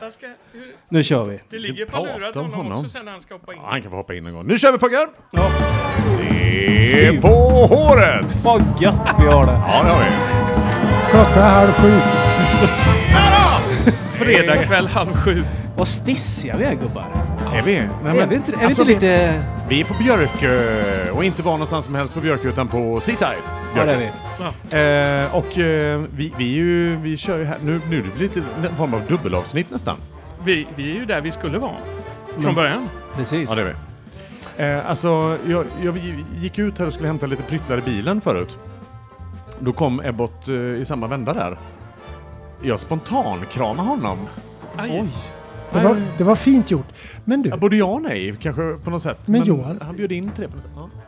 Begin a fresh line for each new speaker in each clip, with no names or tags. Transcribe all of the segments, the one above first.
Jag Ska, hur,
Nu kör vi.
det ligger på
pratar
lurat
om
honom,
honom.
också sen när han ska hoppa in.
Ja, han kan få hoppa in någon gång. Nu kör vi pojkar!
Ja.
Det är på håret!
Vad gött vi har det.
Ja, det har vi.
Klockan är halv sju.
Eh,
Fredag kväll halv sju.
Vad stissiga vi är gubbar.
Är vi? Nej,
är vi inte, är vi
alltså,
inte lite...
Vi är på Björkö och inte var någonstans som helst på Björkö utan på Seaside.
Ja, det är vi.
Eh, och eh, vi, vi, är ju, vi kör ju här, nu, nu blir det lite en form av dubbelavsnitt nästan.
Vi, vi är ju där vi skulle vara. Från början.
Precis.
Ja, det är vi. Eh, alltså, jag, jag gick ut här och skulle hämta lite pryttlar i bilen förut. Då kom Ebbot eh, i samma vända där. Jag spontankramade honom.
Aj.
Det var, det var fint gjort. Men du,
Ja, Både ja och nej, kanske på något sätt.
Men Johan-
Han bjöd in till det på något sätt.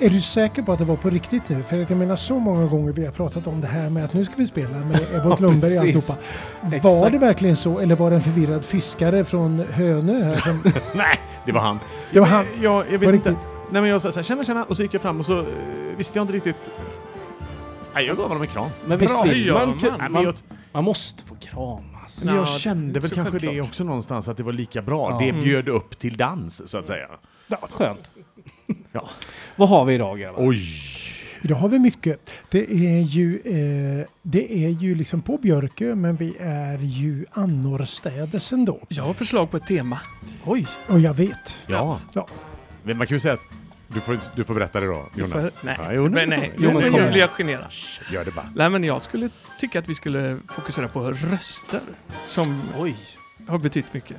Ja.
är du säker på att det var på riktigt nu? För att jag menar så många gånger vi har pratat om det här med att nu ska vi spela med Ebbot
Ja,
Lundberg
precis.
och alltihopa. Var
Exakt.
det verkligen så eller var det en förvirrad fiskare från Hönö här som...
Nej, det var han.
Det var han.
Jag, jag vet
Var
inte.
riktigt.
Nej men jag sa såhär, tjena tjena, och så gick jag fram och så eh, visste jag inte riktigt. Nej, jag gav honom en kram.
Men visst
Bra, hur
vill
gör
man,
man?
Nej,
man,
men jag,
man, man måste få kramas.
men
Ja,
jag kände väl
så
kanske det
självklart.
också någonstans, att det var lika bra.
Ja.
Det bjöd upp till dans, så att säga.
Skönt.
Ja.
Vad har vi idag grabbar?
Oj!
Idag har vi mycket. Det är ju, eh, det är ju liksom på Björkö men vi är ju annorstädes ändå.
Jag har förslag på ett tema.
Oj.
Och jag vet.
Ja.
Ja.
Men man kan ju säga att du får, du får berätta det då, Jonas.
Nej,
Ja, jo,
men nej.
Jo,
Jo,
men
men
kom
nu
igen.
blir jag generad.
Gör det bara.
Nej, men jag skulle tycka att vi skulle fokusera på röster. Som
Oj.
har betytt mycket.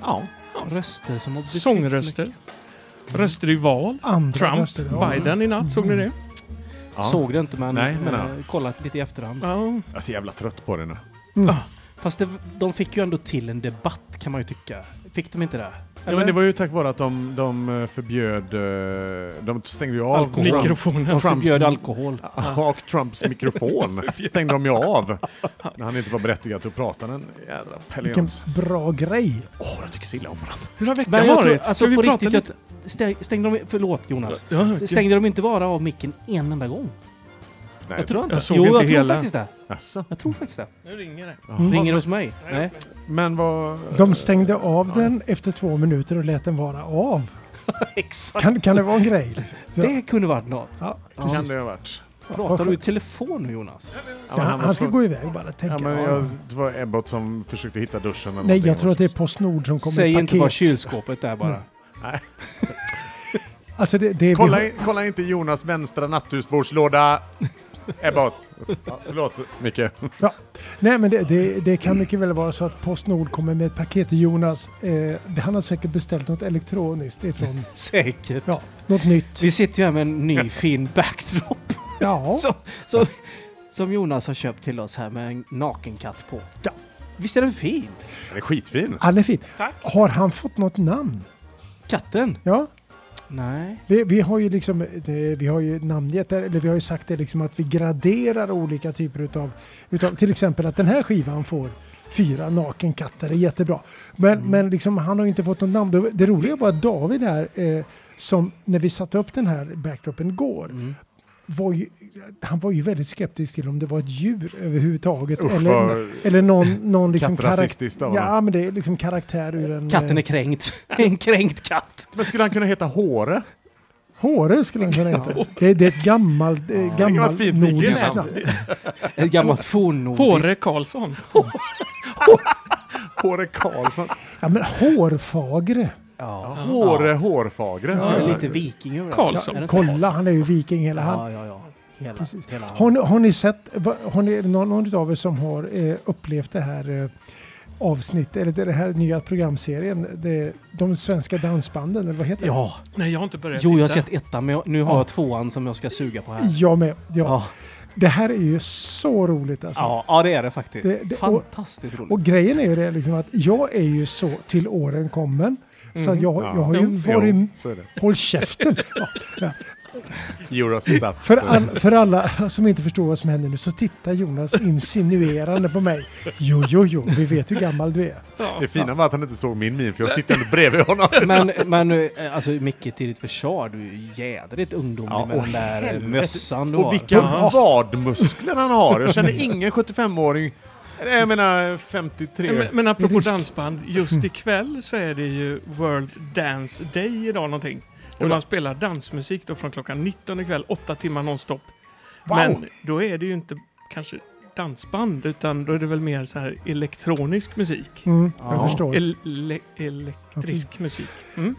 Ja.
Röster som har betytt
Sångröster. Röster i val.
Andra
Trump,
röster, ja.
Biden Mm. i natt, såg ni det?
ja.
mycket. Såg det inte men,
Nej, men
eh, kollat lite i efterhand.
Ja.
Jag är så jävla trött på det nu.
Fast det, de fick ju ändå till en debatt kan man ju tycka. Fick de inte det?
Ja, men det var ju tack vare att de, de eh, förbjöd... eh, De stängde ju av
Alkohol.
Trump-
Mikrofonen.
Trumps-
Förbjöd alkohol.
Ja, och Trumps mikrofon stängde de ju av när han inte var berättigad till att prata. Den jädra
Vilken
pelleons.
bra grej.
Åh, jag tycker så illa om honom.
Hur har veckan
Men jag tror,
varit? Ska
alltså
vi
på
prata
riktigt, jag,
lite?
stäng- stängde de, förlåt Jonas.
Ja, okej.
Stängde de inte bara av micken en enda gång?
Nej,
Jag tror inte.
Jag såg
jo,
inte
jag tror
hela.
faktiskt det.
Alltså.
Jag tror faktiskt det.
Nu ringer det.
Ringer hos mig? Nej.
Men vad...
Mm. De stängde av den efter två minuter och lät den vara av.
Exakt.
Kan, kan det vara en grej? liksom? Så,
Det kunde varit något.
ja.
Kan det ha varit?
Pratar du i telefon nu Jonas?
Ja,
Ja,
men
han,
var
ska
tvungen-
gå iväg bara. Tänka.
Ja, men jag, det var Ebbot som försökte hitta duschen eller
Nej,
någonting
jag tror att det är Postnord som kommer
Säg
i
inte
paket.
bara kylskåpet där bara.
Alltså det, det är
Kolla,
vi har-
in- kolla inte Jonas vänstra natthusbordslåda! Ebbot! Ja, förlåt, Micke.
ja. Nej, men det, det, det kan mycket väl vara så att Postnord kommer med ett paket till Jonas. Eh, det- han har säkert beställt något elektroniskt ifrån,
Säkert.
ja, något nytt.
Vi sitter ju här med en ny fin backdrop
Ja,
som, som, som Jonas har köpt till oss här med en nakenkatt på.
Ja.
Visst är den fin?
Den är skitfin.
han är fin.
Tack.
Har han fått något namn?
Katten?
Ja,
Nej.
vi, vi har ju liksom, det, vi har ju namngett, det, eller vi har ju sagt det liksom att vi graderar olika typer utav, utav till exempel att den här skivan får fyra nakenkatter, det är jättebra. Men,
Mm.
men liksom, han har ju inte fått något namn. Det- Det roliga var att David här, eh, som när vi satte upp den här backdropen igår,
Mm.
var ju, han var ju väldigt skeptisk till om det var ett djur överhuvudtaget.
Usch,
eller,
vad-
eller någon, någon liksom
Kattrasistiskt av honom.
Ja, men det är liksom karaktär ur en...
Katten är
eh,
kränkt. En kränkt katt.
Men skulle han kunna heta Håre?
Håre skulle han kunna heta. Det, det är ett gammalt, eh,
Vilket var
gammalt
ett fint
nordiskt
Mikael.
namn.
Ett gammalt fornnordiskt.
Fåre Karlsson.
Håre Karlsson?
Ja, men hårfagre.
Ja.
Håre Hårfagre.
Ja. Lite viking över det.
Karlsson.
Ja, är det inte
Kolla, han är ju viking hela han.
Ja, ja, ja. Hela, hela
Har ni, har ni sett, va- har ni, är det någon, någon av er som har eh, upplevt det här eh, avsnittet, eller det det här nya programserien, det, de svenska dansbanden, eller vad heter det?
Ja.
Nej, jag har inte börjat
Jo, jag har
titta.
sett ettan, men jag, nu har jag tvåan som jag ska suga på här.
Jag med. Ja.
Ja,
Det här är ju så roligt alltså.
ja, ja det är det faktiskt.
Det- det- och-
Fantastiskt roligt.
Och grejen är ju det liksom att jag är ju så till åren kommen. Så att jag, jag har ju
Mm. Jo,
varit...
så är det.
Håll käften! Ja.
Euros satt. eh,
För, all, för alla som inte förstår vad som händer nu så tittar Jonas insinuerande på mig. Jo, jo, jo, vi vet hur gammal du är.
Det fina var att han inte såg min min, för jag sitter ändå bredvid honom.
Men, men eh, alltså Micke, till ditt försvar, du är ju jädrigt ungdomlig
Ja,
med
och
den där
helvete.
mössan du
Och
har.
vilka vadmuskler han har! Jag känner ingen 75-åring Nej, Jag menar 53.
Men, men apropå
Risk.
dansband, just ikväll så är det ju World Dance Day idag någonting. Där
Oj då.
man spelar dansmusik då från klockan 19 ikväll, åtta timmar nonstop.
Wow.
Men då är det ju inte kanske dansband, utan då är det väl mer så här elektronisk musik.
Mm,
Ja.
Jag förstår.
Ele- elektrisk musik.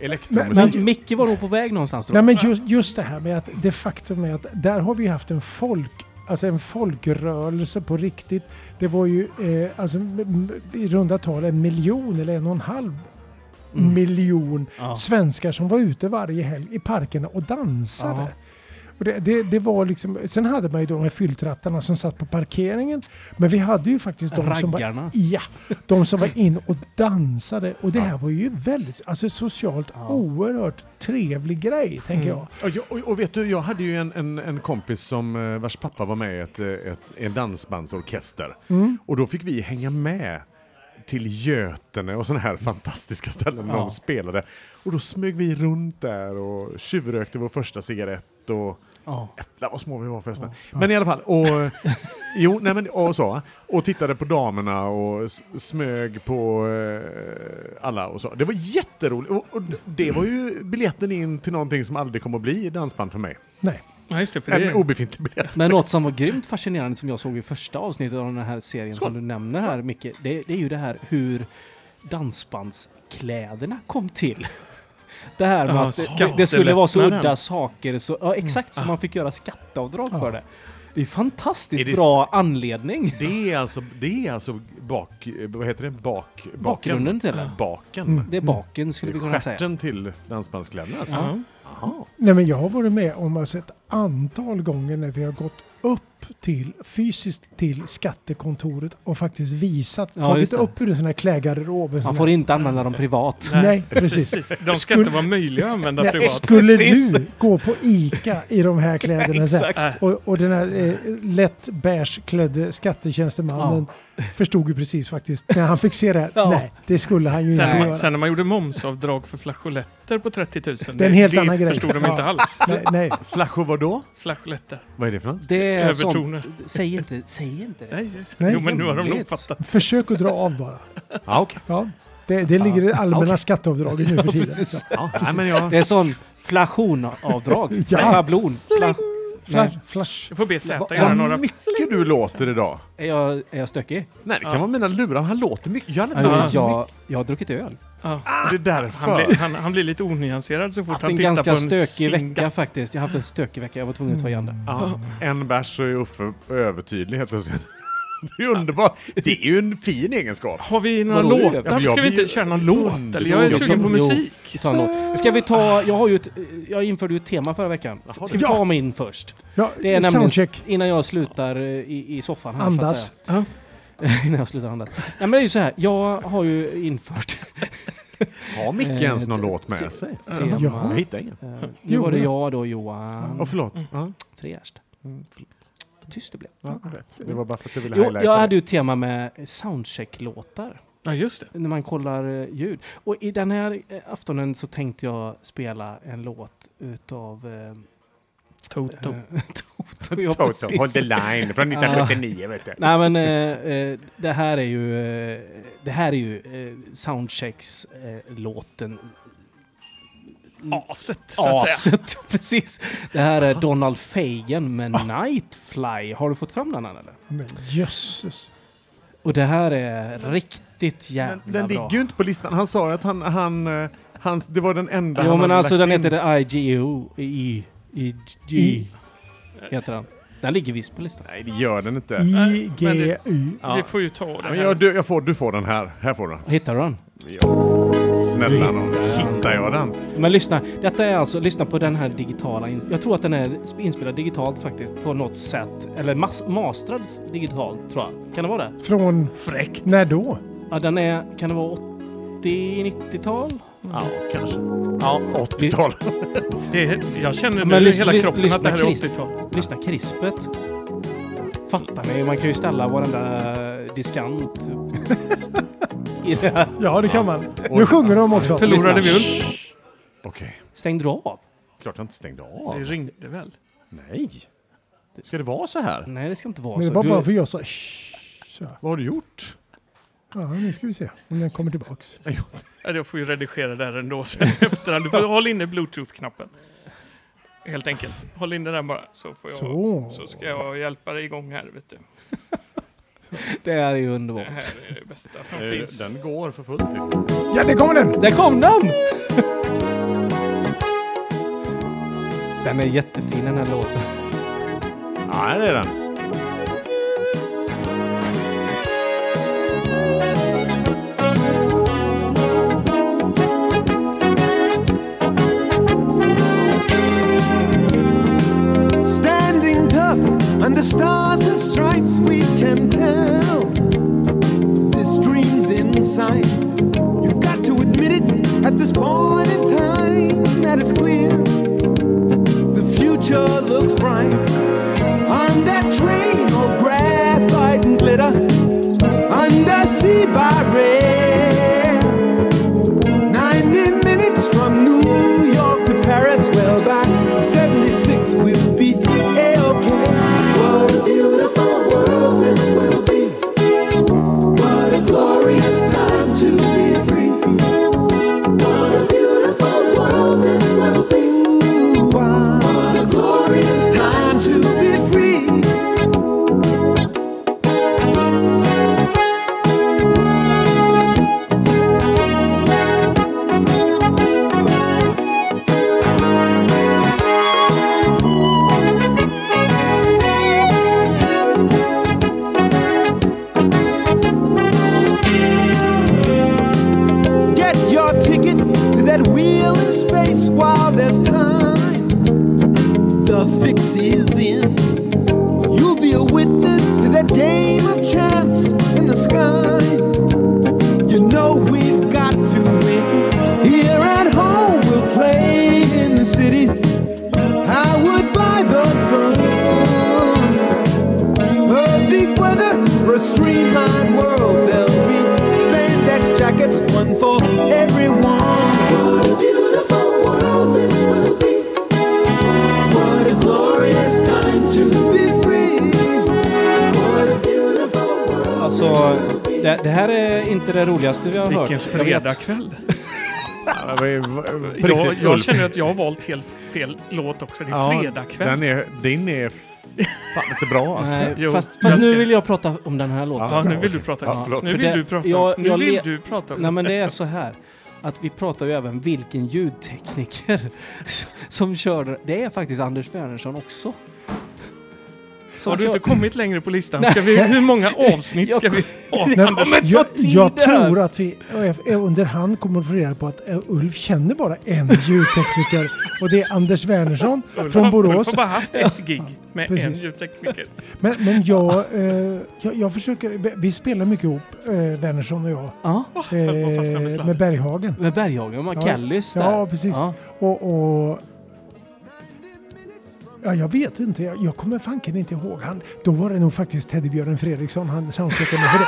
Elektromusik.
Men-
Men Micke var nog på väg någonstans då.
Nej, men just, just det här med att det faktum är att där har vi haft en folk Alltså en folkrörelse på riktigt. Det var ju eh, alltså, m- m- i runda tal en miljon eller en och en halv
Mm.
miljon
Ja.
svenskar som var ute varje helg i parkerna och dansade.
Ja.
Och det, det, det var liksom, sen hade man ju de här fylltrattarna som satt på parkeringen. Men vi hade ju faktiskt de som var
Raggarna.
Ja, de som var in och dansade. Och det här var ju väldigt, alltså socialt
Ja. Mm.
oerhört trevlig grej, tänker jag.
Och, jag, och- och vet du, jag hade ju en, en, en kompis som eh, vars pappa var med i ett, eh, ett, en dansbandsorkester. Och då fick vi hänga med till Götene och sådana här fantastiska ställen där
Ja.
de spelade. Och då smög vi runt där och tjuvrökte vår första cigarett och
Ja.
Jävlar vad små vi var förresten. Men i alla fall, och, jo, nej, men, och, så, och tittade på damerna och s- smög på eh, alla och så. Det var jätteroligt. Och, och d- det var ju biljetten in till någonting som aldrig kommer att bli dansband för mig.
Nej.
Ja, just det, för det
En
är
obefintlig biljett.
Men något som var grymt fascinerande som jag såg i första avsnittet av den här serien som du nämner här Micke, det, det är ju det här hur dansbandskläderna kom till. Det här med
Ja,
att det, det skulle vara så
skattelättnaden.
udda saker, så, ja, exakt så
Ah.
man fick göra skatteavdrag
Ja.
för det. Det är fantastiskt
Är det
bra anledning.
Det är alltså, det är alltså bak, eh, vad heter det? Bak, baken.
Bakgrunden till den.
Baken.
Det
Mm.
är baken skulle vi kunna säga.
Stjärten till dansbandskläderna alltså.
Ja.
Aha.
Nej, men jag har varit med om alltså ett antal gånger när vi har gått upp till, fysiskt till skattekontoret och faktiskt visat,
Ja, just
tagit
det.
upp ur en sån här klägarrob. en sån
Man
här-
får inte använda dem privat.
Nej, precis.
De ska
Skulle-
inte vara möjliga att använda
Nej.
privat.
Skulle
Precis.
du gå på ICA i de här kläderna sen,
Exakt.
Äh,
Och, och den här eh, lätt bärsklädde skattetjänstemannen förstod ju precis faktiskt när han fick se det här.
Ja.
Nej, det skulle han ju inte
Sen,
göra.
man, sen när man gjorde momsavdrag för flageoletter på 30 000,
Det är en helt
det
annan grej.
förstod de
Ja.
inte alls.
Nej, nej.
Flaschor vadå?
Flageoletter.
Vad är det för något?
Det är
Övertoner.
sånt. Säg inte, säg inte det.
Nej,
Nej,
jo, men nu har de nog
hemligt.
fattat.
Försök att dra av bara.
Ja, okej.
Ja. Det, det ligger i det allmänna
Okej.
skatteavdraget nu för tiden.
precis.
Ja, nej, men jag...
Det är sån flationavdrag.
Ja.
ja. Schablon. Fla
Flash, flash.
Jag får be Z göra
Vad
några...
mycket du låter idag.
Är jag, är jag stökig?
Nej, det kan
Ja.
vara mina lurar. Han låter mycket. Jag hade
Ja.
Jag,
inte
jag, jag har druckit öl.
Ja,
Det är
han,
därför.
blir, han, han blir lite onyanserad så
Jag
fort
haft
han
en
tittar på
ganska
en
stökig
singel.
vecka faktiskt. Jag har haft en stökig vecka. Jag var tvungen att ta igen det.
Ja, en bärs så är Uffe övertydlig helt plötsligt. Det är underbart. Det är ju en fin egenskap.
Har vi några
Vadå,
låtar?
jag-
Ska
jag
vi
blir-
inte köra någon låt? Eller jag är
Jo,
sugen på
jo.
musik.
Ta en låt. Ska vi ta... Jag, har ju ett, jag införde ju ett tema förra veckan. Ska vi ta min först?
Ja,
Det är nämligen-
Mm, soundcheck.
Innan jag slutar eh, i, i soffan här så
Andas.
att säga. Innan jag slutar andas. Nej men det är ju så här. Jag har ju infört
Har Micke
Eh,
ens någon
det-
låt
se-
med sig?
temat.
Jag hittar ingen.
Eh, Nu
Jo,
var det
men-
jag då
Åh,
Johan
förlåt. Ja,
Frerst.
Mm,
Tyst du blev.
ja, jag vet. Det var bara för att jag ville
Jo,
highlighta.
jag hade
det.
ju ett tema med soundcheck-låtar.
Ja, just det.
när man kollar eh, ljud. Och i den här eh, aftonen så tänkte jag spela en låt utav... eh,
Toto.
eh, Toto, ja,
Toto, Hold the
precis.
line från 1979, vet du.
Nej men eh, eh, det här är ju, eh, det här är ju eh, Soundchecks-låten.
Aset, så att säga.
precis. Det här är Donald Fagen med Nightfly. Har du fått fram den än eller?
Men jösses.
Och det här är riktigt jävla
Den,
bra.
den ligger ju inte på listan. Han sa ju att han... han, eh, han det var den enda
Jo
han
men
hade
alltså
lagt
den
in.
heter IGO. I, I, G,
I.
heter den. Den ligger visst på listan.
Nej, det gör den inte.
I, G,
men det-
Y.
Ja.
Vi får ju ta det
Men
här.
jag, du, jag får, du får den här. Här får du den.
Hittar du den?
Snälla nån, hittar jag den?
Men lyssna, detta är alltså, lyssna på den här digitala, in- jag tror att den är sp- inspelad digitalt faktiskt på något sätt. Eller mas, mastrad s- digitalt tror jag. Kan det vara det?
Från
Fräckt.
när då?
Ja, den är, kan det vara 80-90-tal?
Ja, kanske.
Ja,
80-tal.
Det, är- jag känner
Men
nu i
lys-
hela
ly-
kroppen
lyssna,
att det här är
Chris.
80-tal.
Lyssna, krispet. Fattar ni? Man kan ju ställa varenda eh, diskant i det här.
Ja, det kan man.
Oj.
Nu sjunger de också.
Förlorade vi
lyssna.
ul?
Okej.
Stängde du av?
Klart jag inte stängde
Det
av.
ringde väl?
Nej. Ska det vara så här?
Nej, det ska inte vara
Men det
så.
var
Du-
bara för jag sa "Shh", Så, ja.
Vad har du gjort?
ja, nu ska vi se om den kommer tillbaks.
Ja, Jag får ju redigera där ändå sen i efterhand. Du får hålla inne bluetooth-knappen. Helt enkelt. Håll inne den bara så får jag...
Så.
Så ska jag hjälpa dig igång här vet du.
Det är ju
Det
underbart.
här är det bästa som
Eh,
finns.
Den går för fullt. liksom.
Ja, där kommer den!
Där kom den! Den är jättefin den här låten.
Ja, här är den.
Standing tough under stars and stripes, we can tell this dream's inside. You've got to admit it at this point in time that it's clear. The future looks bright on that train, old graphite and glitter, under sea barrier. 90 minutes from New York to Paris. Well, by 76 we'll be A-OK. What a beautiful world this will be. What a glorious time to be free. What a beautiful world this will be. What a glorious time to be free. Get your ticket to that wheel in space while there's time. The fix is in. You'll be a witness to that game of chance in the sky. You know we've got to win. Here at home, we'll play in the city. I would buy the sun. Perfect weather for a streamlined world. There'll be spandex jackets, one for everyone. What a beautiful world this will be. What a glorious time to be free. What a beautiful world.
Alltså, det, det här är inte det roligaste vi har hört.
Vilken
Jag vet.
fredagkväll.
Ja, det är- på riktigt,
Jag, jag
Ulf.
känner att jag har valt helt fel låt också. Det är
Ja,
fredagkväll.
Den är, din är fan inte bra alltså.
Nej,
Jo,
fast
jag
fast nu
ska-
vill jag prata om den här låten.
Ja, nu vill du prata.
Ja, förlåt.
nu
För
vill
det-
du prata.
jag-
nu
jag
vill
le-
du prata.
Nej men det är så här att vi pratar ju även vilken ljudtekniker s- som kör Det är faktiskt Anders Wernersson också. Som
har du
kör-
inte kommit längre på listan? Ska vi, hur många avsnitt ska vi ha?
Nej,
Anders?
jag,
tid
jag
det här.
tror att vi eh, under hand kommer att få reda på att eh, Ulf känner bara en ljudtekniker och det är Anders Wernersson
Ulf
från
har-
Borås.
Ulf har bara haft ett gig med en
precis.
ljudtekniker.
Men, men jag, eh, jag, jag försöker, vi- vi spelar mycket ihop, eh, Wernersson och jag,
Ja,
vad fast
eh,
med slarv.
med Berghagen.
med Berghagen och
Ja.
Kellys där.
Ja, precis. Och, och Ja, jag vet inte. Jag, jag kommer fanken inte ihåg. Han, då var det nog faktiskt Teddybjörnen Fredriksson han soundcheckade med. För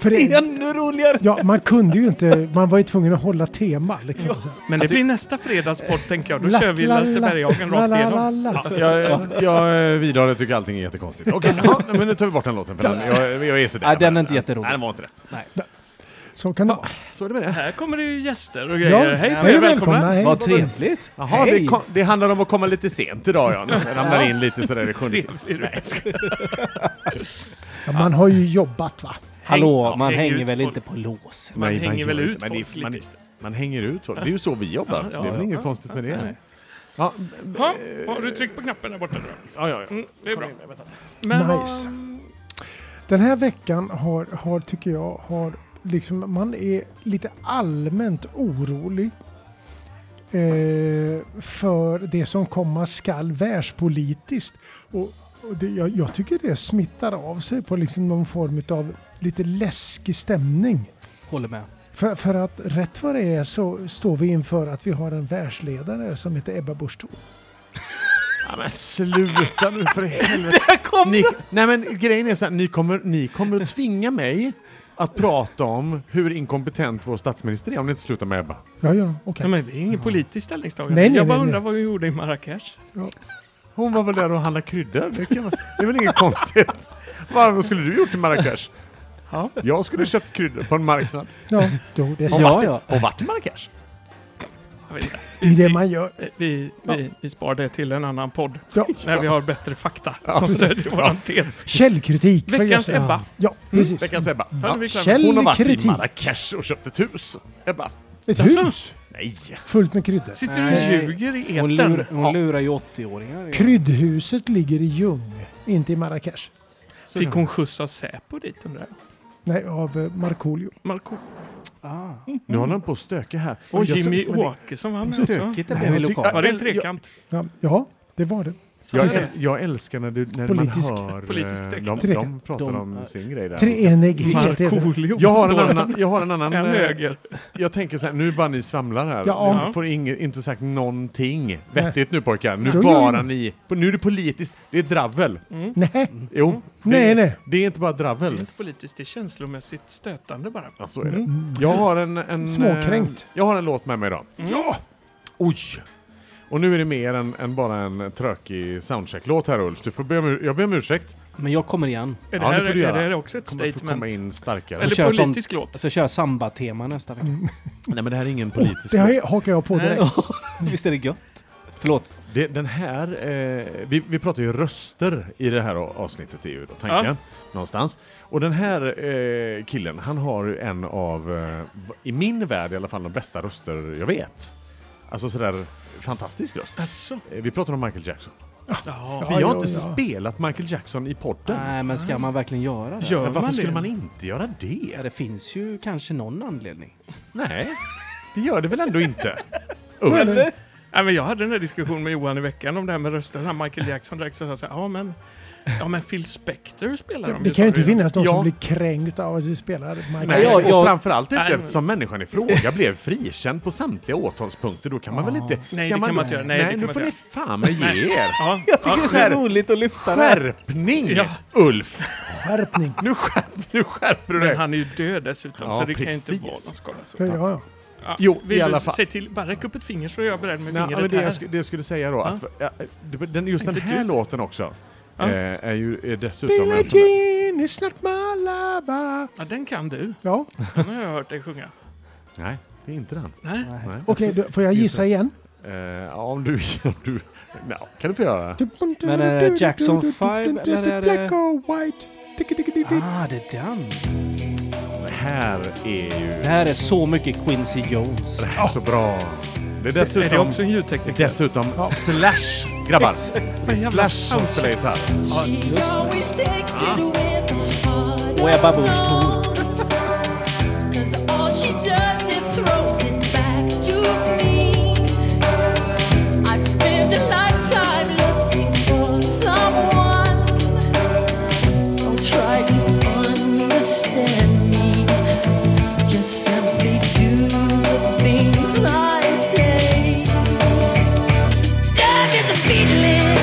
för
Det är
det,
ännu roligare!
ja, man kunde ju inte, man var ju tvungen att hålla tema liksom. så här.
Men det blir nästa fredagspodd tänker jag. Då
La,
kör vi
la,
Lasse
la,
Berghagen
la, la,
rakt
la,
igenom.
la.
Ja.
Jag, jag eh, vidhåller att jag tycker allting är jättekonstigt. Okej, ja, men nu tar vi bort den låten. För den, jag, jag är sådär.
Nej, den är inte jätterolig.
Nej, den var inte det.
Så kan det vara.
Så är det med det.
Här kommer det ju gäster och grejer. Hej på er, välkomna!
Hej.
Vad trevligt!
Jaha,
Hej.
det, kom, det handlar om att komma lite sent idag ja. Jag ramlar in lite sådär i sjunde.
Trevlig du är.
Ja, man har ju jobbat va?
Hallå,
Häng-
man
häng
hänger
ut
väl
folk.
inte på lås?
Man
Nej,
hänger
gör
väl
inte,
ut
men det är-
folk
man-
lite.
Man hänger ut folk. Det är ju så vi jobbar.
Ja, ja,
det är väl
ja,
inget
ja.
konstigt med
Nej.
det. Ja, eh,
Ha, har du tryckt på knappen där borta? nu?
ja, ja, ja.
Mm, det är bra. Men ehm,
Nice.
vad,
Den här veckan har, har tycker jag, har liksom, man är lite allmänt orolig eh, för det som komma skall världspolitiskt. Och, och det, jag, jag tycker det smittar av sig på liksom någon form av lite läskig stämning.
Håller med.
För, för att rätt vad det är så står vi inför att vi har en världsledare som heter Ebba Busch Thor.
ja men sluta nu för helvete.
Där kom
Ni, nej men grejen är så här, ni kommer, ni kommer att tvinga mig att prata om hur inkompetent vår statsminister är om ni inte slutar med Ebba.
Ja, ja, okej.
Nej, men det är ingen politisk ställningstagande.
Nej, nej,
jag bara
nej, nej.
undrar vad vi gjorde i Marrakesh.
Hon var väl där och handlade kryddor? Det, kan man, det är väl inget konstigt? Vad vad skulle du gjort i Marrakesh?
Ja.
Jag skulle köpt kryddor på en marknad.
Ja, jo, det är, sant.
Ja, ja.
Och vart i Marrakesh.
Jag vet inte.
det är det man gör.
Vi, vi, vi, vi spar det till en annan podd
Ja.
när vi har bättre fakta
Ja,
som
precis.
stödjer våran tes.
Källkritik. från
Veckans
Jesse.
Ebba.
Ja, precis.
Veckans Ebba.
Hörde vi klara?
Käll-
Hon har varit
Kritik.
i Marrakesh och köpt ett hus. Ebba.
Ett
Jaså?
hus
Nej.
fullt med kryddor.
Sitter du och
Nej.
ljuger i
Hon, lur,
etern?
hon lurar ju 80-åringar.
Kryddhuset ligger i Ljung, inte i Marrakesh.
Fick hon skjuts av Säpo dit undrar jag?
Nej, av eh, Markoolio.
Marco.
Ah.
Nu håller han på att stöka här.
Och
Jag
Jimmy
tror- men det-
Åkesson var med också.
Stökigt det
Nej,
blev i
jag tyck-
lokalen.
Var det en
Jag-
trekant?
Ja, ja, det var det.
Jag,
Så är
äl- jag älskar när, du, när
Politisk-
man hör... eh,
politisk text.
de,
Tre-
de pratar
de-
om sin grej där.
Treenighet heter det.
Markoolio.
Jag har en
står
annan... Jag, har en annan,
En
eh,
höger.
jag tänker så här, nu bara ni svamlar här.
Ja.
Ni får inget, inte sagt någonting vettigt nu pojkar. Nu
Jo, jo, jo.
bara ni... Nu är det politiskt. Det är dravel.
Nej,
Jo. Mm. Det,
nej, nej.
Det är inte bara
Det
dravel.
är inte politiskt, det är känslomässigt stötande bara.
Ja, så är det. Jag har en... en
Småkränkt.
eh, Jag har en låt med mig idag.
Ja!
Oj! Och nu är det mer än, än bara en trökig soundcheck-låt här Ulf. Du får be om, ur- jag ber om ursägt.
Men jag kommer igen.
Är det
Ja, det
här,
får du
är det
göra.
här också ett
Kommer få komma
statement?
in starkare.
Eller
Kör som-
politisk låt?
Jag ska köra samba-tema nästa vecka.
Nej men det här är ingen politisk
Det
låt.
har- hakar jag på direkt.
Visst är det gött? Förlåt.
Det, den här, eh, vi, vi pratar ju röster i det här a- avsnittet är ju då tanken.
Ja.
Någonstans. Och den här eh, killen, han har ju en av, eh, v- i min värld i alla fall, de bästa röster jag vet. Alltså sådär fantastisk röst.
Jaså?
Eh, Vi pratar om Michael Jackson.
Ja.
Vi har
ja,
inte
ja.
spelat Michael Jackson i podden.
Nej, men ska man verkligen göra det?
Gör
Men varför
man
skulle
det?
man inte göra det?
Ja, det finns ju kanske någon anledning.
Nej, det gör det väl ändå inte?
Eller?
Nej, men jag hade den här diskussionen med Johan i veckan om det här med rösten. Han Michael Jackson direkt så sa jag så här, ja men, ja men Phil Spector spelar de
Det kan ju
sa
inte
vi.
finnas någon
Ja.
som blir kränkt av att vi spelar Michael
Nej,
Jackson.
jag-
och
jag-
framförallt inte
Nej, men-
eftersom människan i fråga blev frikänd på samtliga åtalspunkter. Då kan man väl inte...
Nej,
ska
det kan man inte göra. Nej, det kan
nu
man
får ni
inte
fan med ge er.
Ja,
Det
ja,
är så
skärp-
roligt att lyfta det.
Skärpning,
Ja.
Ulf!
Skärpning.
Nu, skärp, nu skärper du
men
dig.
han är ju död dessutom
Ja,
så det
precis.
kan ju inte vara någon skada. Så.
Ja, ja, ja.
Ja,
Jo,
vill
i alla
du
fall.
Säg till, bara räck upp ett finger så är jag beredd med
Nej, men
fingret
det,
här.
jag skulle, det jag skulle säga då, att, ja, det- den, just den
Inte
här
du.
låten också
Ja.
eh, är ju är dessutom
Billie
en sån där...
Jean is not my lover.
Ja, den kan du.
Ja,
Den har jag hört dig sjunga.
Nej, det är inte den.
Nej.
Nej.
okej, då får jag gissa igen?
Eh, ja, om du... Om du ja, kan du få göra det?
Men är det Jackson five, eller är det-
Black or white.
Ah, det är den.
Det här är ju...
Det här är så mycket Quincy Jones.
Det här är så bra. Det är dessutom...
Är det också en ljudtekniker?
Dessutom Slash, grabbar. Det är
Men jävla
Slash som
soundcheck.
spelar gitarr.
Och Ebba Busch Thor.
Simply do the things I say. That is a feeling.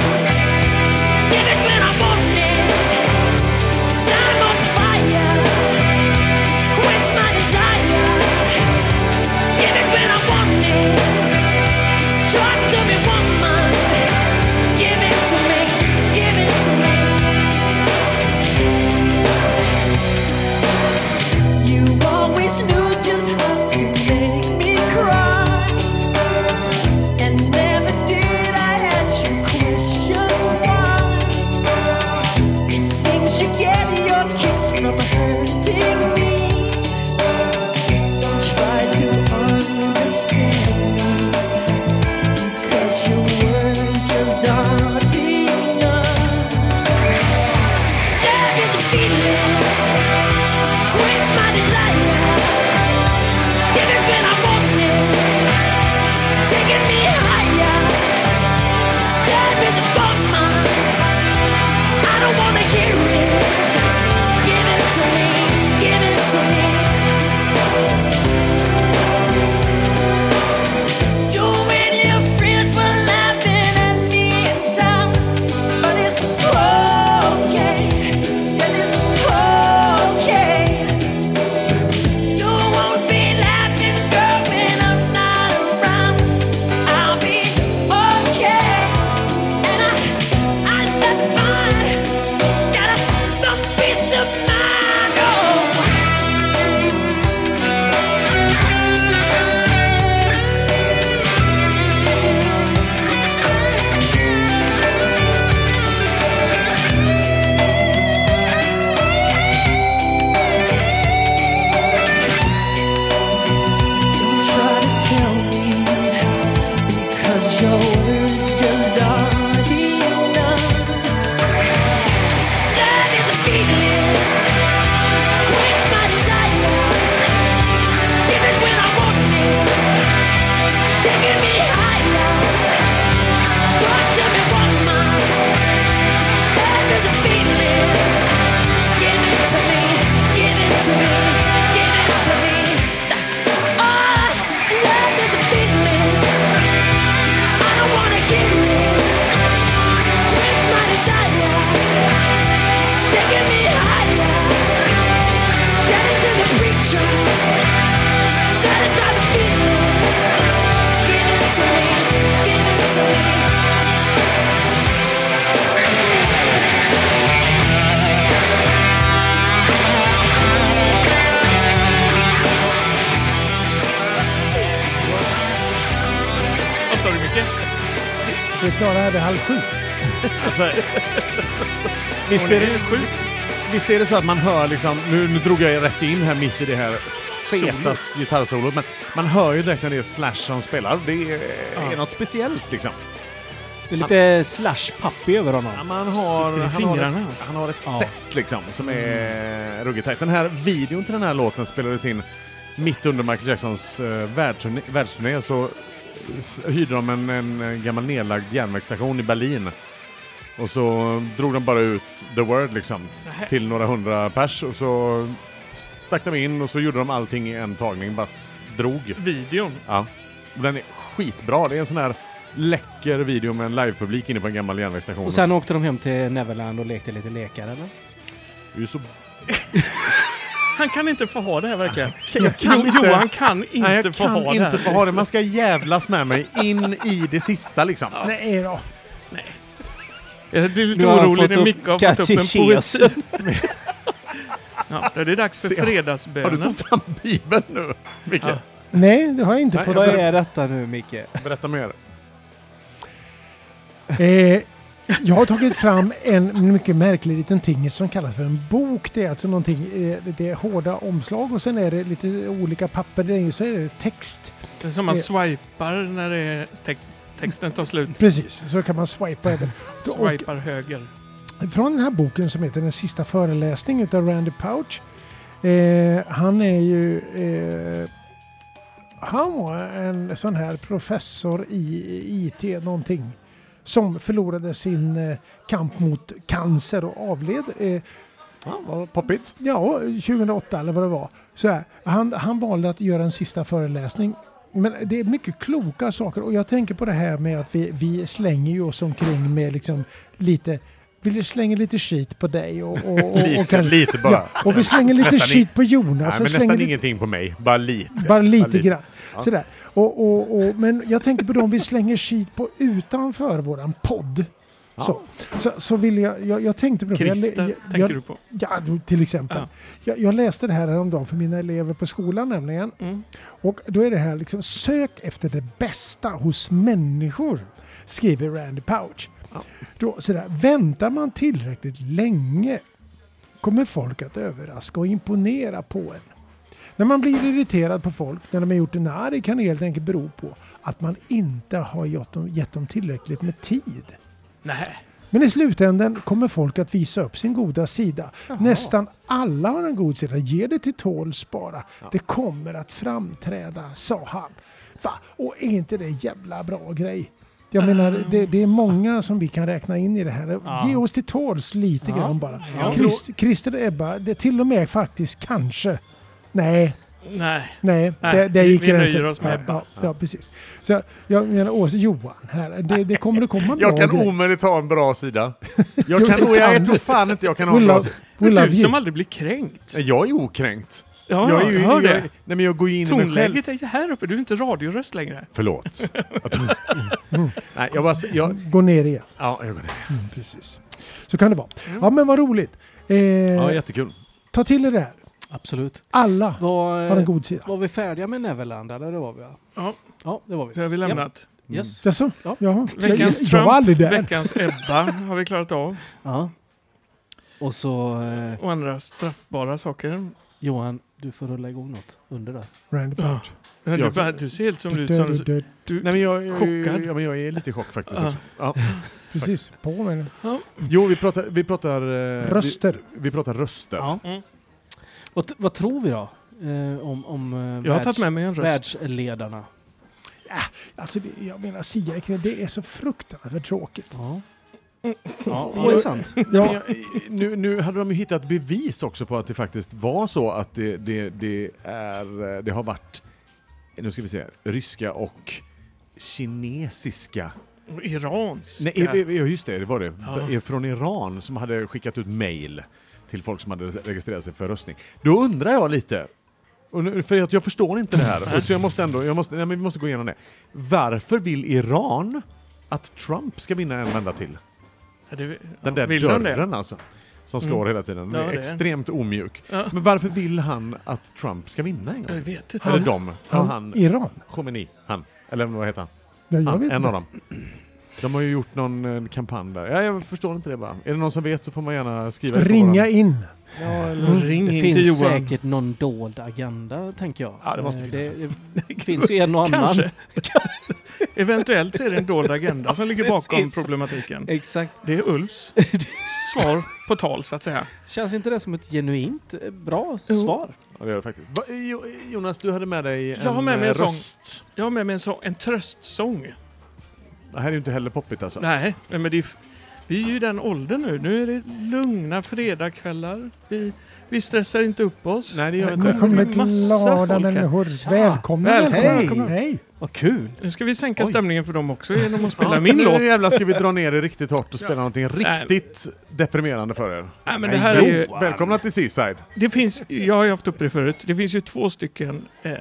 Give it when I want it. 'Cause I'm on fire.
Vi är klara här vid halv sju.
Visst
Hon
Alltså, är,
är
det,
sjuk.
visst är det så att man hör liksom, nu, nu drog jag rätt in här mitt i det här feta gitarrsolot, men man hör ju direkt när det är Slash som spelar. Det är, är något speciellt liksom.
Det är lite slash-pappig över honom.
Ja, Man har,
Sitter i
han, har
fingrarna.
ett, han har ett
Ja.
sätt liksom som är ruggigt tajt. Den här videon till den här låten spelades in mitt under Michael Jacksons uh, världsturné, världsturné så s- hyrde de en, en eh, gammal nedlagd järnvägsstation i Berlin. Och så drog de bara ut the word liksom till några hundra pers och så stack de in och så gjorde de allting i en tagning, bara s- drog.
Videon.
Ja. Den är skitbra. Det är en sån här läcker video med en livepublik inne på en gammal järnvägsstation.
Och sen åkte de hem till Neverland och lekte lite lekar, eller?
Det är ju så
Han kan inte få ha det här verkar
Jag kan
jo,
inte.
Johan kan inte
Nej, jag
få
kan
ha det
inte
här.
få ha det. Man ska jävlas med mig in i det sista liksom.
Nej då.
Jag blir lite
Nu har han
orolig
fått
när
upp
Micke har fått upp en
katekesen.
poesi. ja, det är dags för
Se, har- Har du
fredagsbönen.
tagit fram Bibeln nu, Micke?
Ja.
Nej, det har jag inte
Nej,
fått.
Vad är detta nu, Micke?
Berätta mer.
Eh, jag har tagit fram en mycket märklig liten ting som kallas för en bok. Det är alltså någonting, eh, det är hårda omslag och sen är det lite olika papper. Det är ju så är det text.
Det är som man swipar när det är tex- texten tar slut.
Precis, så kan man swipa över. Och
Swipar höger.
från den här boken som heter Den sista föreläsningen utav Randy Pouch. Eh, han är ju... Eh, han var en sån här professor i IT någonting. Som förlorade sin eh, kamp mot cancer och avled. Eh,
Ja, vad poppigt.
ja, 2008 eller vad det var. Så här, han, han valde att göra en sista föreläsning. Men det är mycket kloka saker och jag tänker på det här med att vi, vi slänger ju oss omkring med liksom lite vi slänger lite skit på dig och, och, och, och,
Lite,
kanske,
lite bara.
ja, och vi slänger lite
Nästan
skit på Jonas.
Nej,
och
men
slänger
nästan
lite-
ingenting på mig. Bara lite.
bara lite
lite.
grann. Sådär. Och, och, och, men jag tänker på de vi slänger skit på utanför våran podd. Så, så, så vill jag, jag, jag tänkte på det. för jag-
Christer,
jag,
tänker
jag,
du på?
Ja, du, till exempel.
Ja.
Jag, jag läste det här häromdagen för mina elever på skolan nämligen.
Mm.
Och då är det här liksom, sök efter det bästa hos människor, skriver Randy Pouch. Då, sådär, väntar man tillräckligt länge kommer folk att överraska och imponera på en. När man blir irriterad på folk när de har gjort en arg kan det helt enkelt bero på att man inte har gett dem, gett dem tillräckligt med tid.
Nej.
Men i slutändan kommer folk att visa upp sin goda sida. Nästan alla har en god sida. Ge det till tåls bara. Det kommer att framträda, sa han. Va? Och är inte det en jävla bra grej? Jag menar, det, det är många som vi kan räkna in i det här.
Ja.
Ge oss till tåls lite grann bara.
Jag
Christ, Christer och Ebba, det är till och med faktiskt kanske. Nej,
Nej.
Nej,
Nej,
det, det
vi-
gick
vi
gränsen.
nöjer oss med Ebba.
ja, ja, precis. Så jag menar, Åsa, Johan här, det, det kommer att komma bra
Jag kan
grejer.
omöjligt ha en bra sida. Jag,
Jo,
kan,
det
och jag
kan
tror fan inte jag kan ha
We
en bra
love,
sida.
we love
Du som
you.
aldrig blir kränkt.
Jag är okränkt.
Ja,
jag
jag
är ju,
hör
jag,
det.
Nej, men jag går ju in i mig själv.
Tonläget är ju här uppe. Du är inte radioröst längre.
Förlåt. Jag tror- Nej, jag bara... Jag,
Gå ner igen.
ja, jag går ner.
Precis. Så kan det vara. Ja, men vad roligt. Eh,
Ja, jättekul.
Ta till er det här.
Absolut.
Alla har en
Var,
god sida.
eh, var vi färdiga med Neverland, eller det var vi? va?
Ja.
Ja, Mm. det var vi.
Det har vi lämnat.
Yes.
Jaså?
Ja.
Jaha. Jag,
Veckans
jag var aldrig
Trump,
där.
veckans Ebba har vi klarat av.
Ja. Och så... Eh,
Och andra straffbara saker.
Johan, du får rulla igång något under där.
Randy Pouch.
Men Du,
Jag-
bara- du ser helt som ut som...
Du- du-
Du,
Nej, men jag, jag,
Chockad.
ja, men jag är lite i chock faktiskt.
Ja.
Också. Ja.
Precis. På med den.
Jo, vi pratar... Vi pratar eh,
Röster.
Vi, vi pratar röster.
Ja.
Mm.
Vad, t- vad tror vi då? Eh, om om eh,
jag har tagit med mig en röst.
världsledarna.
Alltså, det, jag menar, sia kring det är så fruktansvärt tråkigt.
Ja. Ja,
Och-
det är sant.
Men
Ja,
jag, nu, nu hade de ju hittat bevis också på att det faktiskt var så att det, det, det, är, eh, det har varit, nu ska vi se, ryska och kinesiska.
Iranska.
Nej, eh, eh, ja, just det, det var det.
Ja.
Eh, Från Iran som hade skickat ut mejl till folk som hade registrerat sig för röstning. Då undrar jag lite, och nu, för jag, jag förstår inte det här, så jag måste ändå, jag måste, nej, men vi måste gå igenom det. Varför vill Iran att Trump ska vinna en vända till?
Ja, det-
Den
ja,
där
vill han det? Mm.
dörren alltså. Som slår hela tiden. Den
Ja,
är
det är.
extremt omjuk.
Ja.
Men varför vill han att Trump ska vinna en gång?
Jag vet inte.
Eller dem. Han,
han,
han,
Iran.
Khomeini. Han. Eller vad heter han?
Ja, jag
han
vet
en
inte.
av dem. De har ju gjort någon eh, kampanj där. Ja, jag förstår inte det bara. Är det någon som vet så får man gärna skriva det på
Ringa
våran-
in.
Mm.
Ring
Det
in till
finns
Johan.
säkert någon dold agenda, tänker jag.
Ja, det måste
Eh,
finnas.
det- Det finns ju en och annan.
Kanske. Eventuellt så är det en dold agenda som ligger bakom
Precis.
problematiken.
Exakt.
Det är Ulfs svar på tal, så att säga.
Känns inte det som ett genuint eh, bra svar?
Ja, det gör det faktiskt. Va, eh, Jo- Jonas, du hade med dig en
Jag har med mig
eh,
en sång.
röst.
Jag har med mig en, så, en tröstsång.
Det här är ju inte heller poppigt alltså.
Nej, men det är, ju f- vi är ju i den åldern nu. Nu är det lugna fredagskvällar. Vi, vi stressar inte upp oss.
Nej, det gör vi
Men-
Nu
inte.
kommer
Det är massa
glada
folk här.
människor.
Tja.
Välkomna,
Välkomna,
välkomna.
välkomna.
Hej.
Vad kul!
Nu ska vi sänka
Oj.
stämningen för dem också genom att spela
Ja,
min
nu
låt.
jävlar ska vi dra ner det riktigt hårt och spela
Ja.
någonting
Nej.
riktigt deprimerande för er.
Nej, men
Nej,
det här är
jo.
ju,
Välkomna till Seaside.
det finns, jag har ju haft upp det förut. Det finns ju två stycken eh,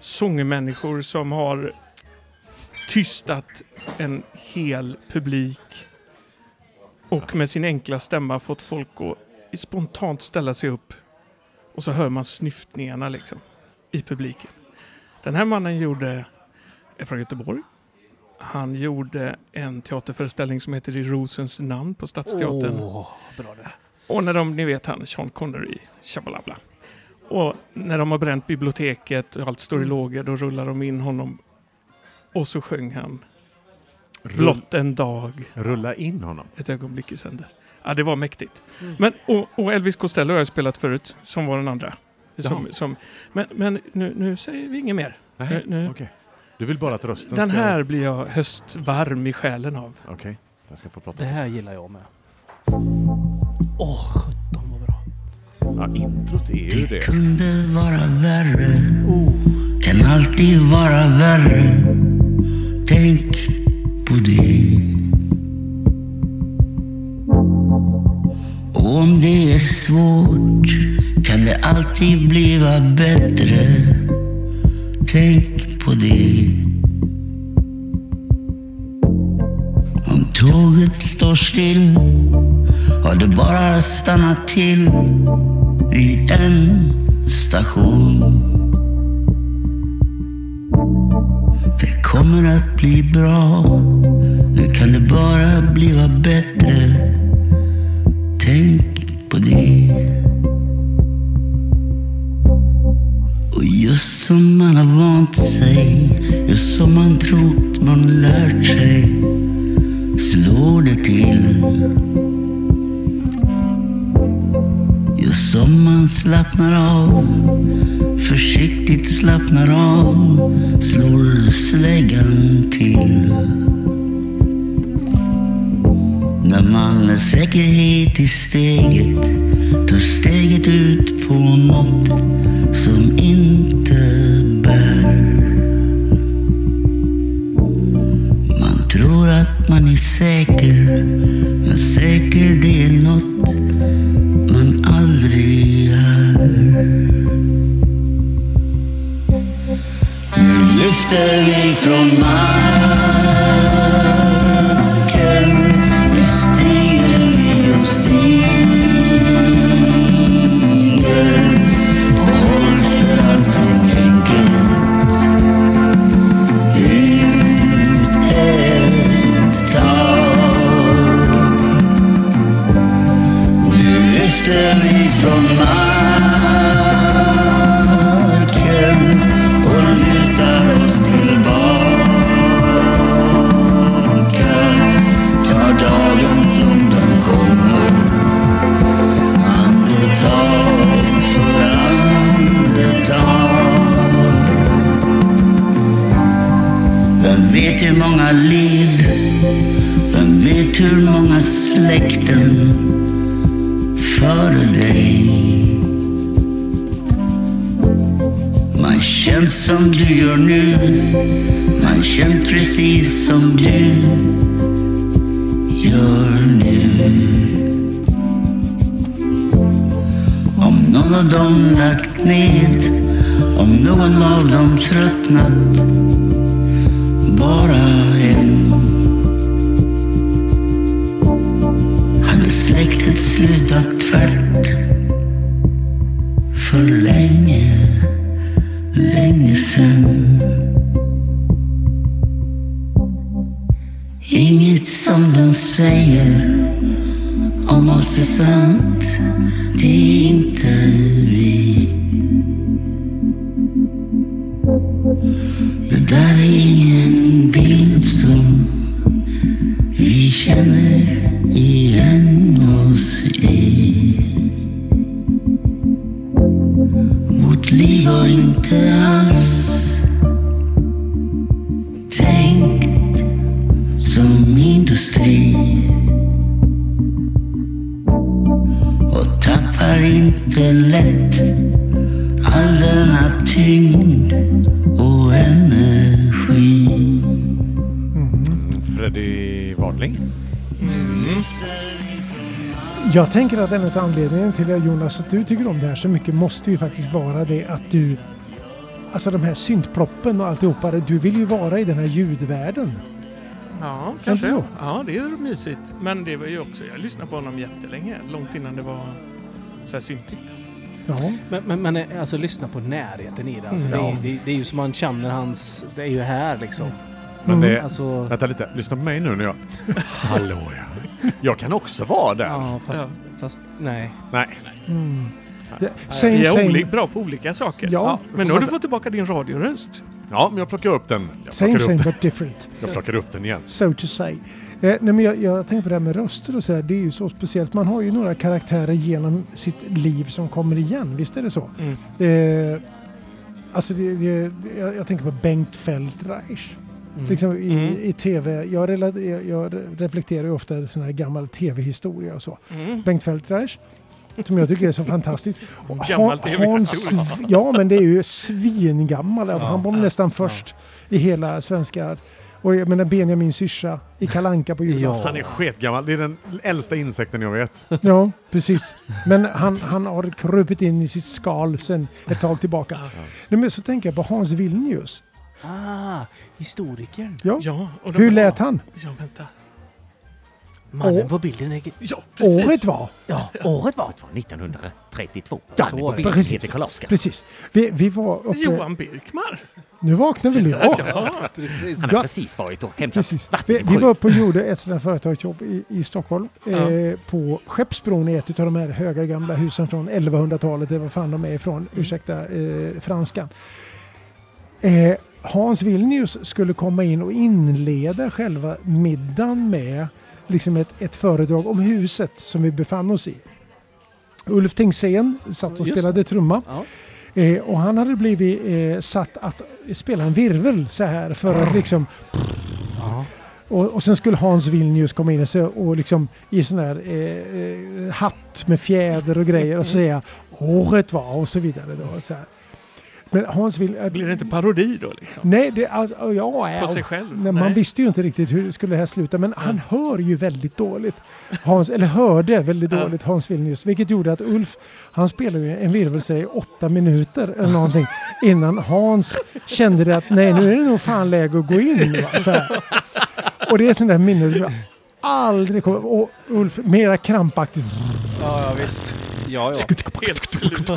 sångmänniskor som har tystat en hel publik och med sin enkla stämma fått folk att spontant ställa sig upp och så hör man snyftningarna liksom i publiken. Den här mannen gjorde, är från Göteborg. Han gjorde en teaterföreställning som heter I rosens namn på Stadsteatern.
Åh, bra det.
Och när de, ni vet han, Sean Connery, tjabalabla. Och när de har bränt biblioteket och allt
Mm.
står i lågor, då rullar de in honom. Och så sjöng
Mm.
han Blott en dag,
Rulla in honom.
ett ögonblick i sänder. Ja, det var mäktigt.
Mm.
Men, och, och Elvis Costello har jag spelat förut, som var den andra. Som, som, men men nu, nu säger vi inget mer.
Nej,
Nu- nu-
okej. Du vill bara att rösten
Den
ska...
här blir jag höstvarm i själen av.
Okej. Jag ska få prata
Det här
på sig.
gillar jag med. Åh, 17 vad bra.
Ja, introt är ju det.
kunde vara värre Oh. Kan alltid vara värre Tänk på det Och om det är svårt kan det alltid bliva bättre Tänk på det Om tåget står still har det bara stannat till vid en station. Det kommer att bli bra. Nu kan det bara bliva bättre. Tänk på det. Och just som man har vant sig, just som man trott man lärt sig, slår det till. Just som man slappnar av, försiktigt slappnar av, slår släggan till. När man med säkerhet i steget tar steget ut på något som inte bär. Man tror att man är säker, men säker det är något man aldrig är. Nu lyfter vi från marken. Nu stiger vi och stiger. På oss är allting enkelt. Ut ett tag. Nu lyfter vi från marken och lutar oss tillbaka. Tar dagen som den kommer. Andetag för andetag. Vem vet hur många liv, vem vet hur många släkten före dig. Man känns som du gör nu, man känns precis som du gör nu. Om någon av dem lagt ned, om någon av dem tröttnat, bara en hade släktet slutat tvärt för länge, länge sen. Inget som de säger om oss är sant. Det är inte vi. Det där är ingen bild som vi känner igen oss i. Vårt liv var inte alls tänkt som industri. Och tappar inte lätt all Oh, denna tyngd och energi.
Freddy Wadling.
Jag tänker att en av anledningarna till att Jonas att du tycker om det här så mycket måste ju faktiskt vara det att du Alltså de här syntploppen och alltihopa, det- du vill ju vara i den här ljudvärlden.
Ja,
kanske.
kanske.
så?
Ja, det är mysigt. Men det var ju också, jag lyssnade på honom jättelänge, långt innan det var så här syntigt.
Ja.
Men, men, men eh, alltså lyssna på närheten i det. Alltså,
Mm.
det,
Ja.
är, det, är- det är ju som man känner hans... Det är ju här liksom.
Mm.
Men det,
Alltså...
Vänta lite, lyssna på mig nu när jag... Hallå ja. Jag kan också vara där.
Ja, fast, fast nej.
Nej.
Mm. Det,
Vi
same,
är
same,
oli- bra på olika saker.
Ja.
Men nu har du fått tillbaka din radioröst.
Ja, men jag plockar upp den. Jag
same,
plockar
same
upp den,
but different.
jag plockar upp den igen.
So to say. Eh, nej men jag, jag tänker på det här med röster och sådär. Det är ju så speciellt. Man har ju några karaktärer genom sitt liv som kommer igen. Visst är det så?
Mm.
Eh, alltså det, det, jag, jag tänker på Bengt Feldreich. Till
Liksom-
exempel Liksom i,
Mm.
i tv. Jag, rela- jag, jag reflekterar ju ofta sån här gammal tv-historia och så.
Mm.
Bengt Feldreich. Som jag tycker är så fantastiskt. Och
Gammal
Han-
TV-historia.
Hans- Ja, men det är ju svingammal. Han var nästan först i hela svenska... Och jag menar Benjamin syrsa i Kalanka på julafton.
Han är sketgammal. Det är den äldsta insekten jag vet.
Ja. precis. Men han, han har krupit in i sitt skal sen ett tag tillbaka. Nej, men så tänker jag på Hans Vilnius.
Ah, historikern.
Ja.
Ja, och de-
Hur lät han?
Ja, vänta.
Mannen
Åh.
på bilden är...
Ja, precis.
Året var.
Ja, året var...
1932.
Ja,
Så var det.
precis.
Heter Karl-Oskar.
Precis. Vi, vi var uppe...
Johan eh, Birkmar.
Nu vaknar vi.
Ja.
Ja,
Precis.
Han har
Ja.
precis varit och hämtat
precis.
vatten
Vi,
i
vi var
sjön.
uppe och gjorde ett sådant här företagsjobb i, i Stockholm. Eh, på Skeppsbron i ett av de här höga gamla husen från 1100-talet. Eller var fan de är ifrån.
Mm.
Ursäkta eh, franskan. Eh, Hans Vilnius skulle komma in och inleda själva middagen med liksom ett, ett föredrag om huset som vi befann oss i. Ulf Tingsen satt och
Just
spelade trumma.
Ja.
Eh, och han hade blivit eh, satt att spela en virvel så här för att liksom... Och, och sen skulle Hans Vilnius komma in och, se, och liksom i sån här eh, eh, hatt med fjäder och grejer och säga året var och så vidare. Då, så här. Men Hans Vilnius...
Blir det inte parodi då liksom?
Nej, det, alltså, ja,
På
ja.
sig själv?
Nej, man visste ju inte riktigt hur skulle det här sluta, men han hör ju väldigt dåligt. Hans, eller hörde väldigt
Ja.
dåligt Hans Vilnius, vilket gjorde att Ulf, han spelade ju en virvelsäg i åtta minuter eller någonting innan Hans kände det att nej, nu är det nog fan läge att gå in. Va? Så här. Och det är ett sånt där minne som jag aldrig kommer... Och Ulf, mera krampaktigt.
Ja, ja, visst. Ja, ja.
Helt slut.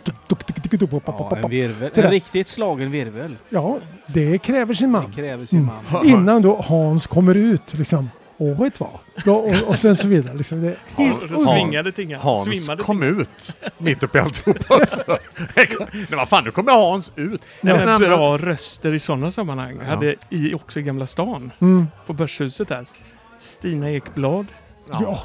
ja en virvel.
Sådär.
En riktigt slagen virvel.
Ja, det kräver sin man.
Det kräver sin man.
Innan då Hans kommer ut liksom. Året var. Då, och, och sen så vidare. Liksom. Det är helt
Och det
underbart.
svingade tingar.
Hans
Svimmade
kom
typ.
ut mitt uppe i alltihopa också. Nej vad fan, nu kommer Hans ut.
Nej,
En
men
annan-
bra röster i sådana sammanhang. Jag hade i, också i Gamla stan,
Mm.
på Börshuset där, Stina Ekblad
Ja.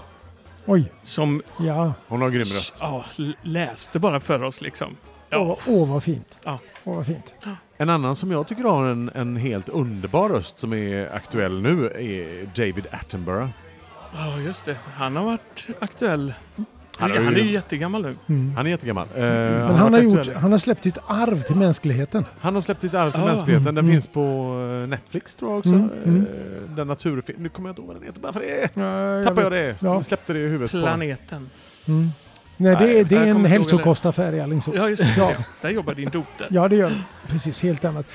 Oj,
som
ja.
Hon har grym röst.
ja, l- läste bara för oss liksom. Ja.
Åh, åh vad fint.
Ja.
Åh, vad fint.
En annan som jag tycker har en, en helt underbar röst som är aktuell nu är David Attenborough.
Ja, just det. Han har varit aktuell. Han
Han
är,
har ju-
han är ju jättegammal nu.
Han är jättegammal. Eh,
Men han har,
varit
gjort,
aktuell-
han har släppt sitt arv till mänskligheten.
Han har släppt sitt arv till
Ah.
mänskligheten. Den
Mm.
finns på eh, Netflix tror jag också.
Mm, mm.
Eh, Den naturfilm. Nu kommer jag inte ihåg vad den heter bara för det.
jag
Tappade jag det?
Ja.
Släppte det i huvudet på mig.
Planeten.
Mm. Nej, det, är- det
jag
är
kommer
en
inte ihåg
hälsokostaffär i Alingsås.
Ja, just det.
Ja.
Ja. Där jobbar din dotter.
Ja, det gör det. Precis, helt annat.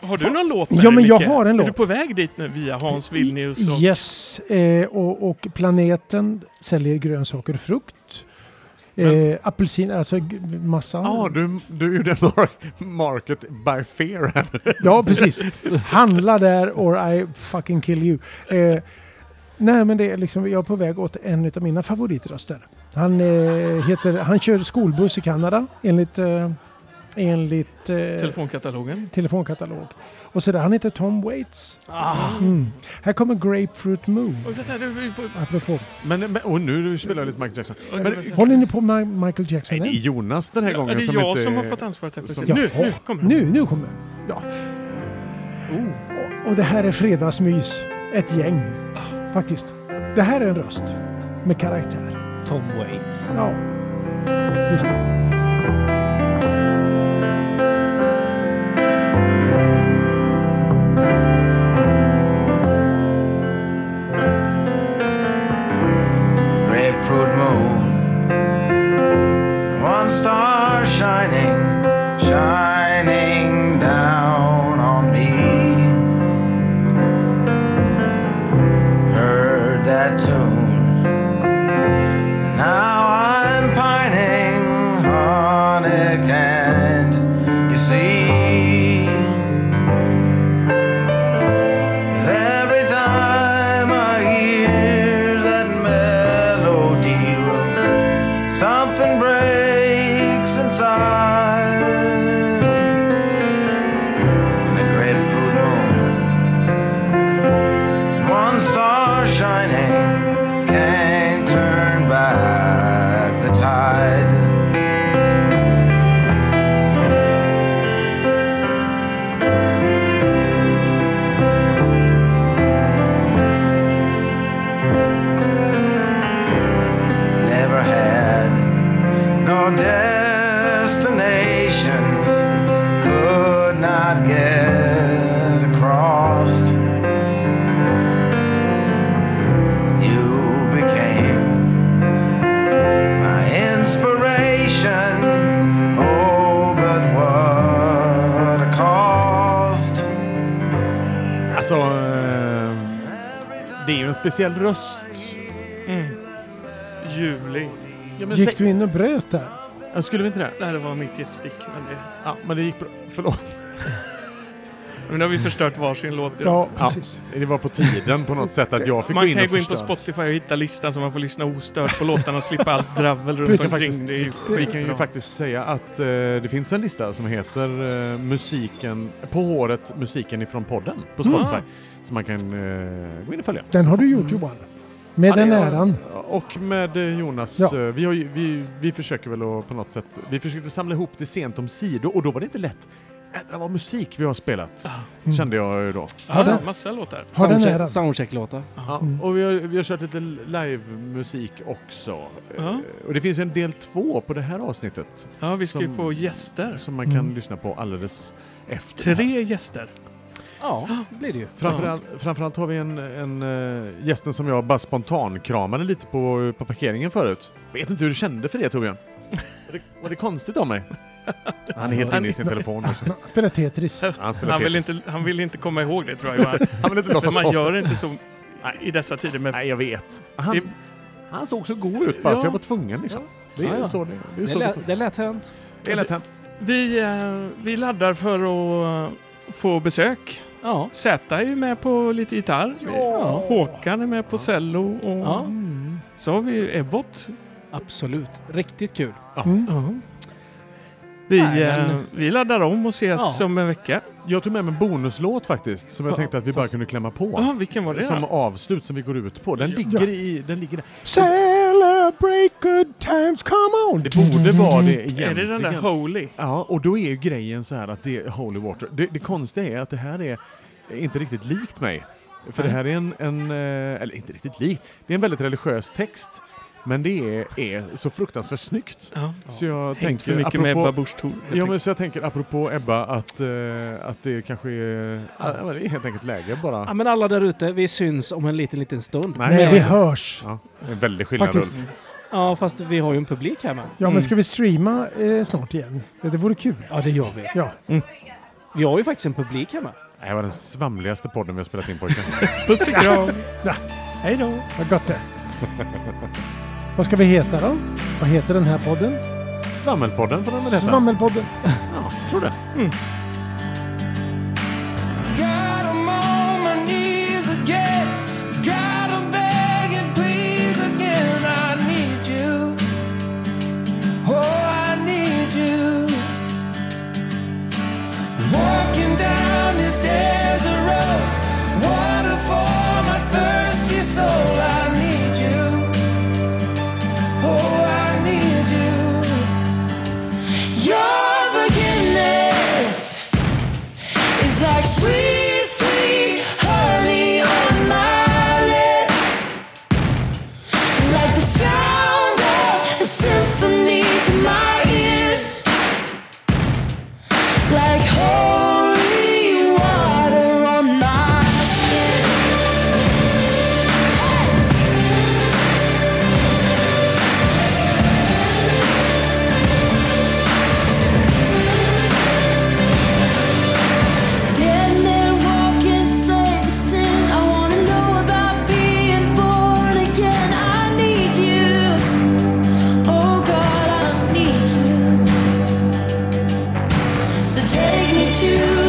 Har du någon låt? med
Ja,
dig,
men jag
Micke?
har en
Är du
låt.
på väg dit nu via Hans Vilnius? Och...
Yes, eh, och, och planeten säljer grönsaker och frukt.
Men-
Eh, apelsin, alltså g- massa.
Ah,
Ja, du, du gjorde mark, market by fear här.
Ja, precis. Handla där or I fucking kill you. Eh, nej, men det är liksom, jag är på väg åt en av mina favoritröster. Han, eh, heter, han kör skolbuss i Kanada enligt, eh, enligt eh,
Telefonkatalogen.
telefonkatalog. Och så där, han heter Tom Waits.
Ah.
Mm. Här kommer Grapefruit Moon.
Oj, vänta, du- vi får-
Apropå.
Men, men, och nu spelar jag lite Michael Jackson.
oj,
Men-
vad-
Håller ni på med Michael Jackson?
Nej, det är
än?
Jonas den här
Ja,
gången
det är
som
jag
inte...
som har fått ansvaret här precis.
som-
Nu,
Jaha.
nu kommer
Nu, nu kommer den. ja. Och, och det här är fredagsmys. Ett gäng. Faktiskt. Det här är en röst. Med karaktär.
Tom Waits.
Ja. Lyssna.
Grapefruit moon, one star shining, shining down on me. Heard that tune, now I'm pining on it, can't you see? Cause every time I hear that melody roll, something breaks inside. In a grapefruit moon, one star shining can't turn back the tide. never had no destinations could not get across you became my inspiration oh but what a cost
Alltså, eh, det är ju en speciell röst.
nu. Mm. Juli.
Ja, men
Gick du in och bröt där?
in? Skulle vi inte det?
Det här var mitt jetstick. Men det,
Ja, men det gick bra. Förlåt.
men nu har vi förstört varsin låt idag.
Ja, precis.
Det var på tiden på något sätt att jag fick
Man
gå in
kan ju
och
gå in på
förstöra.
Spotify och hitta listan så man får lyssna ostört på låtarna och slippa allt dravel runt
Precis.
omkring. Det är ju
Vi kan ju
skitbra.
faktiskt säga att eh, det finns en lista som heter eh, musiken, På håret, musiken ifrån podden på Spotify.
Mm.
Som man kan eh, gå in och följa.
Den har du gjort Johan. Med
Ja, det-
den äran.
Och med eh, Jonas,
Ja.
eh, vi, har ju, vi, vi försöker väl att på något sätt, vi försökte samla ihop det sent om sidor och då var det inte lätt. Ädra vad musik vi har spelat, Mm. kände jag ju då.
Ja, det är
Har,
massa låtar.
har den
Soundcheck-
äran.
Soundcheck-låtar.
Ja, och vi har, vi har kört lite live-musik också.
Ja.
Eh, Och det finns ju en del två på det här avsnittet
Ja, vi ska ju
Som-
få gäster.
som man kan lyssna på alldeles efter.
Mm. Tre gäster.
Ja, blir det ju.
Framförallt, framförallt har vi en, en eh, gästen som jag bara spontankramade lite på, på parkeringen förut. Vet inte hur du kände för det Torbjörn. Var det, var det konstigt av mig? Han är helt inne i sin telefon. Och så.
Han spelar Tetris.
Han, spelar
Han vill,
Tetris.
inte, han vill inte komma ihåg det tror jag. Johan.
han vill inte
För
låtsas
man
om.
gör inte så i dessa tider med
Nej, jag vet.
Det-
Han, han såg så god ut bara,
Ja.
så jag var tvungen liksom. Det är
Ja, ja.
så det, det är.
Det
Så det,
lät, det lät hänt.
det är lätt hänt.
Vi, eh, vi laddar för att eh, få besök.
Ja.
Zäta är ju med på lite gitarr.
Ja.
Håkan är med på cello. Och
ja.
Mm.
Så har vi ju Ebbot.
Absolut. Riktigt kul.
Vi,
Nej,
eh,
men-
vi laddar om och ses
Ja.
om en vecka.
Jag tog med mig en bonuslåt faktiskt, som jag
Ja,
tänkte att vi bara
fast-
kunde klämma
Ja,
på.
vilken var det
Som
då?
avslut som vi går ut på. Den ligger i... Den ligger där.
Celebrate good times, come on!
Det borde vara det
Är det den där
egentligen.
Holy?
Ja, och då är ju grejen så här att det är holy water. Det, det konstiga är att det här är inte riktigt likt mig. För det här är en, en, eh, eller inte riktigt likt, det är en väldigt religiös text. Men det är, är så fruktansvärt snyggt.
Ja.
Så jag
Tänk
tänker,
för mycket med Ebba
apropå,
Busch Thor. helt
ja,
enkelt.
men så jag tänker apropå Ebba att, eh, att det kanske är, ja. men det är helt enkelt läge
Ja,
bara.
men alla där ute, vi syns om en liten, liten stund.
Nej.
Nej, vi hörs.
Ja, det är en väldig skillnad
Faktiskt.
Ulf.
Ja, fast vi har ju en publik här med.
Ja,
Mm.
men ska vi streama eh, snart igen? Ja, Det vore kul.
Ja, det gör vi.
Ja.
Vi har ju faktiskt en publik här med.
Det här var den svamligaste podden vi har spelat in pojkar.
Puss och kram!
Hej då! Vad gott det Vad ska vi heta då? Vad heter den här podden?
Svammelpodden får den väl heta?
Svammelpodden.
Ja, tror det.
Got 'em on my knees again. Got 'em begging, please again. I need you. Oh, I need you. Walking down this desert road, water for my thirsty soul. I need you. Oh, I need you. Your forgiveness is like sweet, sweet honey on my lips. Like the sound of a symphony to my ears. Like holy water on my skin. Dead man walking, slave to sin. I wanna know about being born again. I need you. Oh God, I need you. So take me to Oh,